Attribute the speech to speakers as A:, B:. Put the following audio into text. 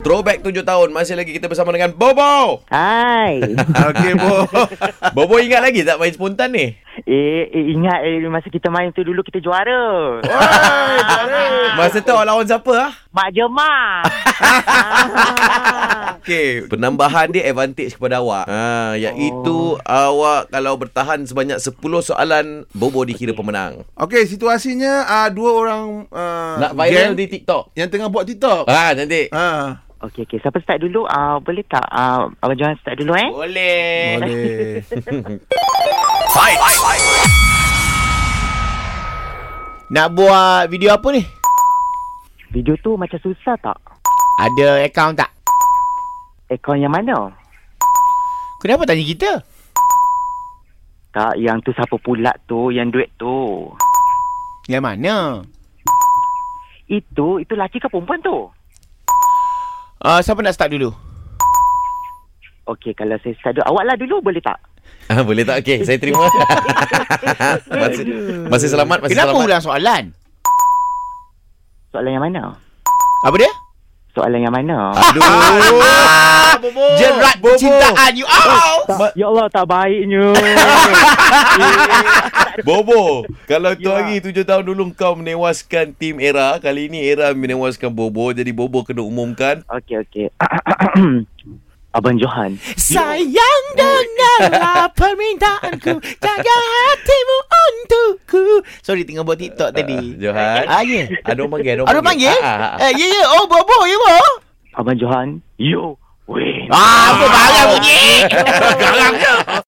A: Throwback 7 tahun Masih lagi kita bersama dengan Bobo
B: Hai.
A: Okey Bobo Bobo ingat lagi tak main spontan ni?
B: eh, eh, ingat eh, masa kita main tu dulu kita juara. Oh,
A: Oi, Masa tu awak lawan siapa ah?
B: Mak Jemah.
A: Okey, penambahan dia advantage kepada awak. Ha, iaitu awak kalau bertahan sebanyak 10 soalan, Bobo dikira pemenang.
C: Okey, situasinya uh, dua orang uh,
A: Ha. Nak viral di
C: geng
A: TikTok.
C: yang tengah buat TikTok.
A: Ha, nanti.
C: Ha.
D: Ah.
B: Okey, okey. Siapa start dulu? Uh, boleh tak? Uh, Abang Johan start dulu eh?
A: Boleh.
C: Ah, Boleh.
D: Nak buat video apa ni?
B: Video tu macam susah tak?
D: Ada akaun tak?
B: Akaun yang mana?
D: Kenapa tanya kita?
B: Tak, yang tu siapa pula tu? Yang duit tu.
D: Yang mana?
B: Itu, itu lelaki ke perempuan tu?
D: Uh, siapa nak start dulu?
B: Okey, kalau saya start dulu. Awak lah dulu boleh tak?
A: Ha, boleh tak? Okey, saya terima. masih, masih selamat, masih
D: Kenapa
A: selamat.
D: ulang soalan?
B: Soalan yang mana?
D: Apa dia?
B: Soalan yang mana?
A: Aduh.
C: Ah,
D: Jerat percintaan you out!
B: Tak, ya Allah, tak baiknya.
A: Bobo, kalau tu
B: Ya.
A: hari tujuh tahun dulu kau menewaskan tim Era, kali ini Era menewaskan Bobo, jadi Bobo kena umumkan.
B: Okey, okey. Abang Johan.
D: Sayang dengarlah permintaanku Jaga hatimu untukku Sorry tengah buat TikTok tadi
A: Johan.
D: Ah, ya
A: Ada orang panggil,
D: Aduh panggil?
A: Ah, ah, ah.
D: Eh, ya, ya Oh, bobo, ya, bo
B: Abang Johan, you win.
D: Ah, apa barang bunyi?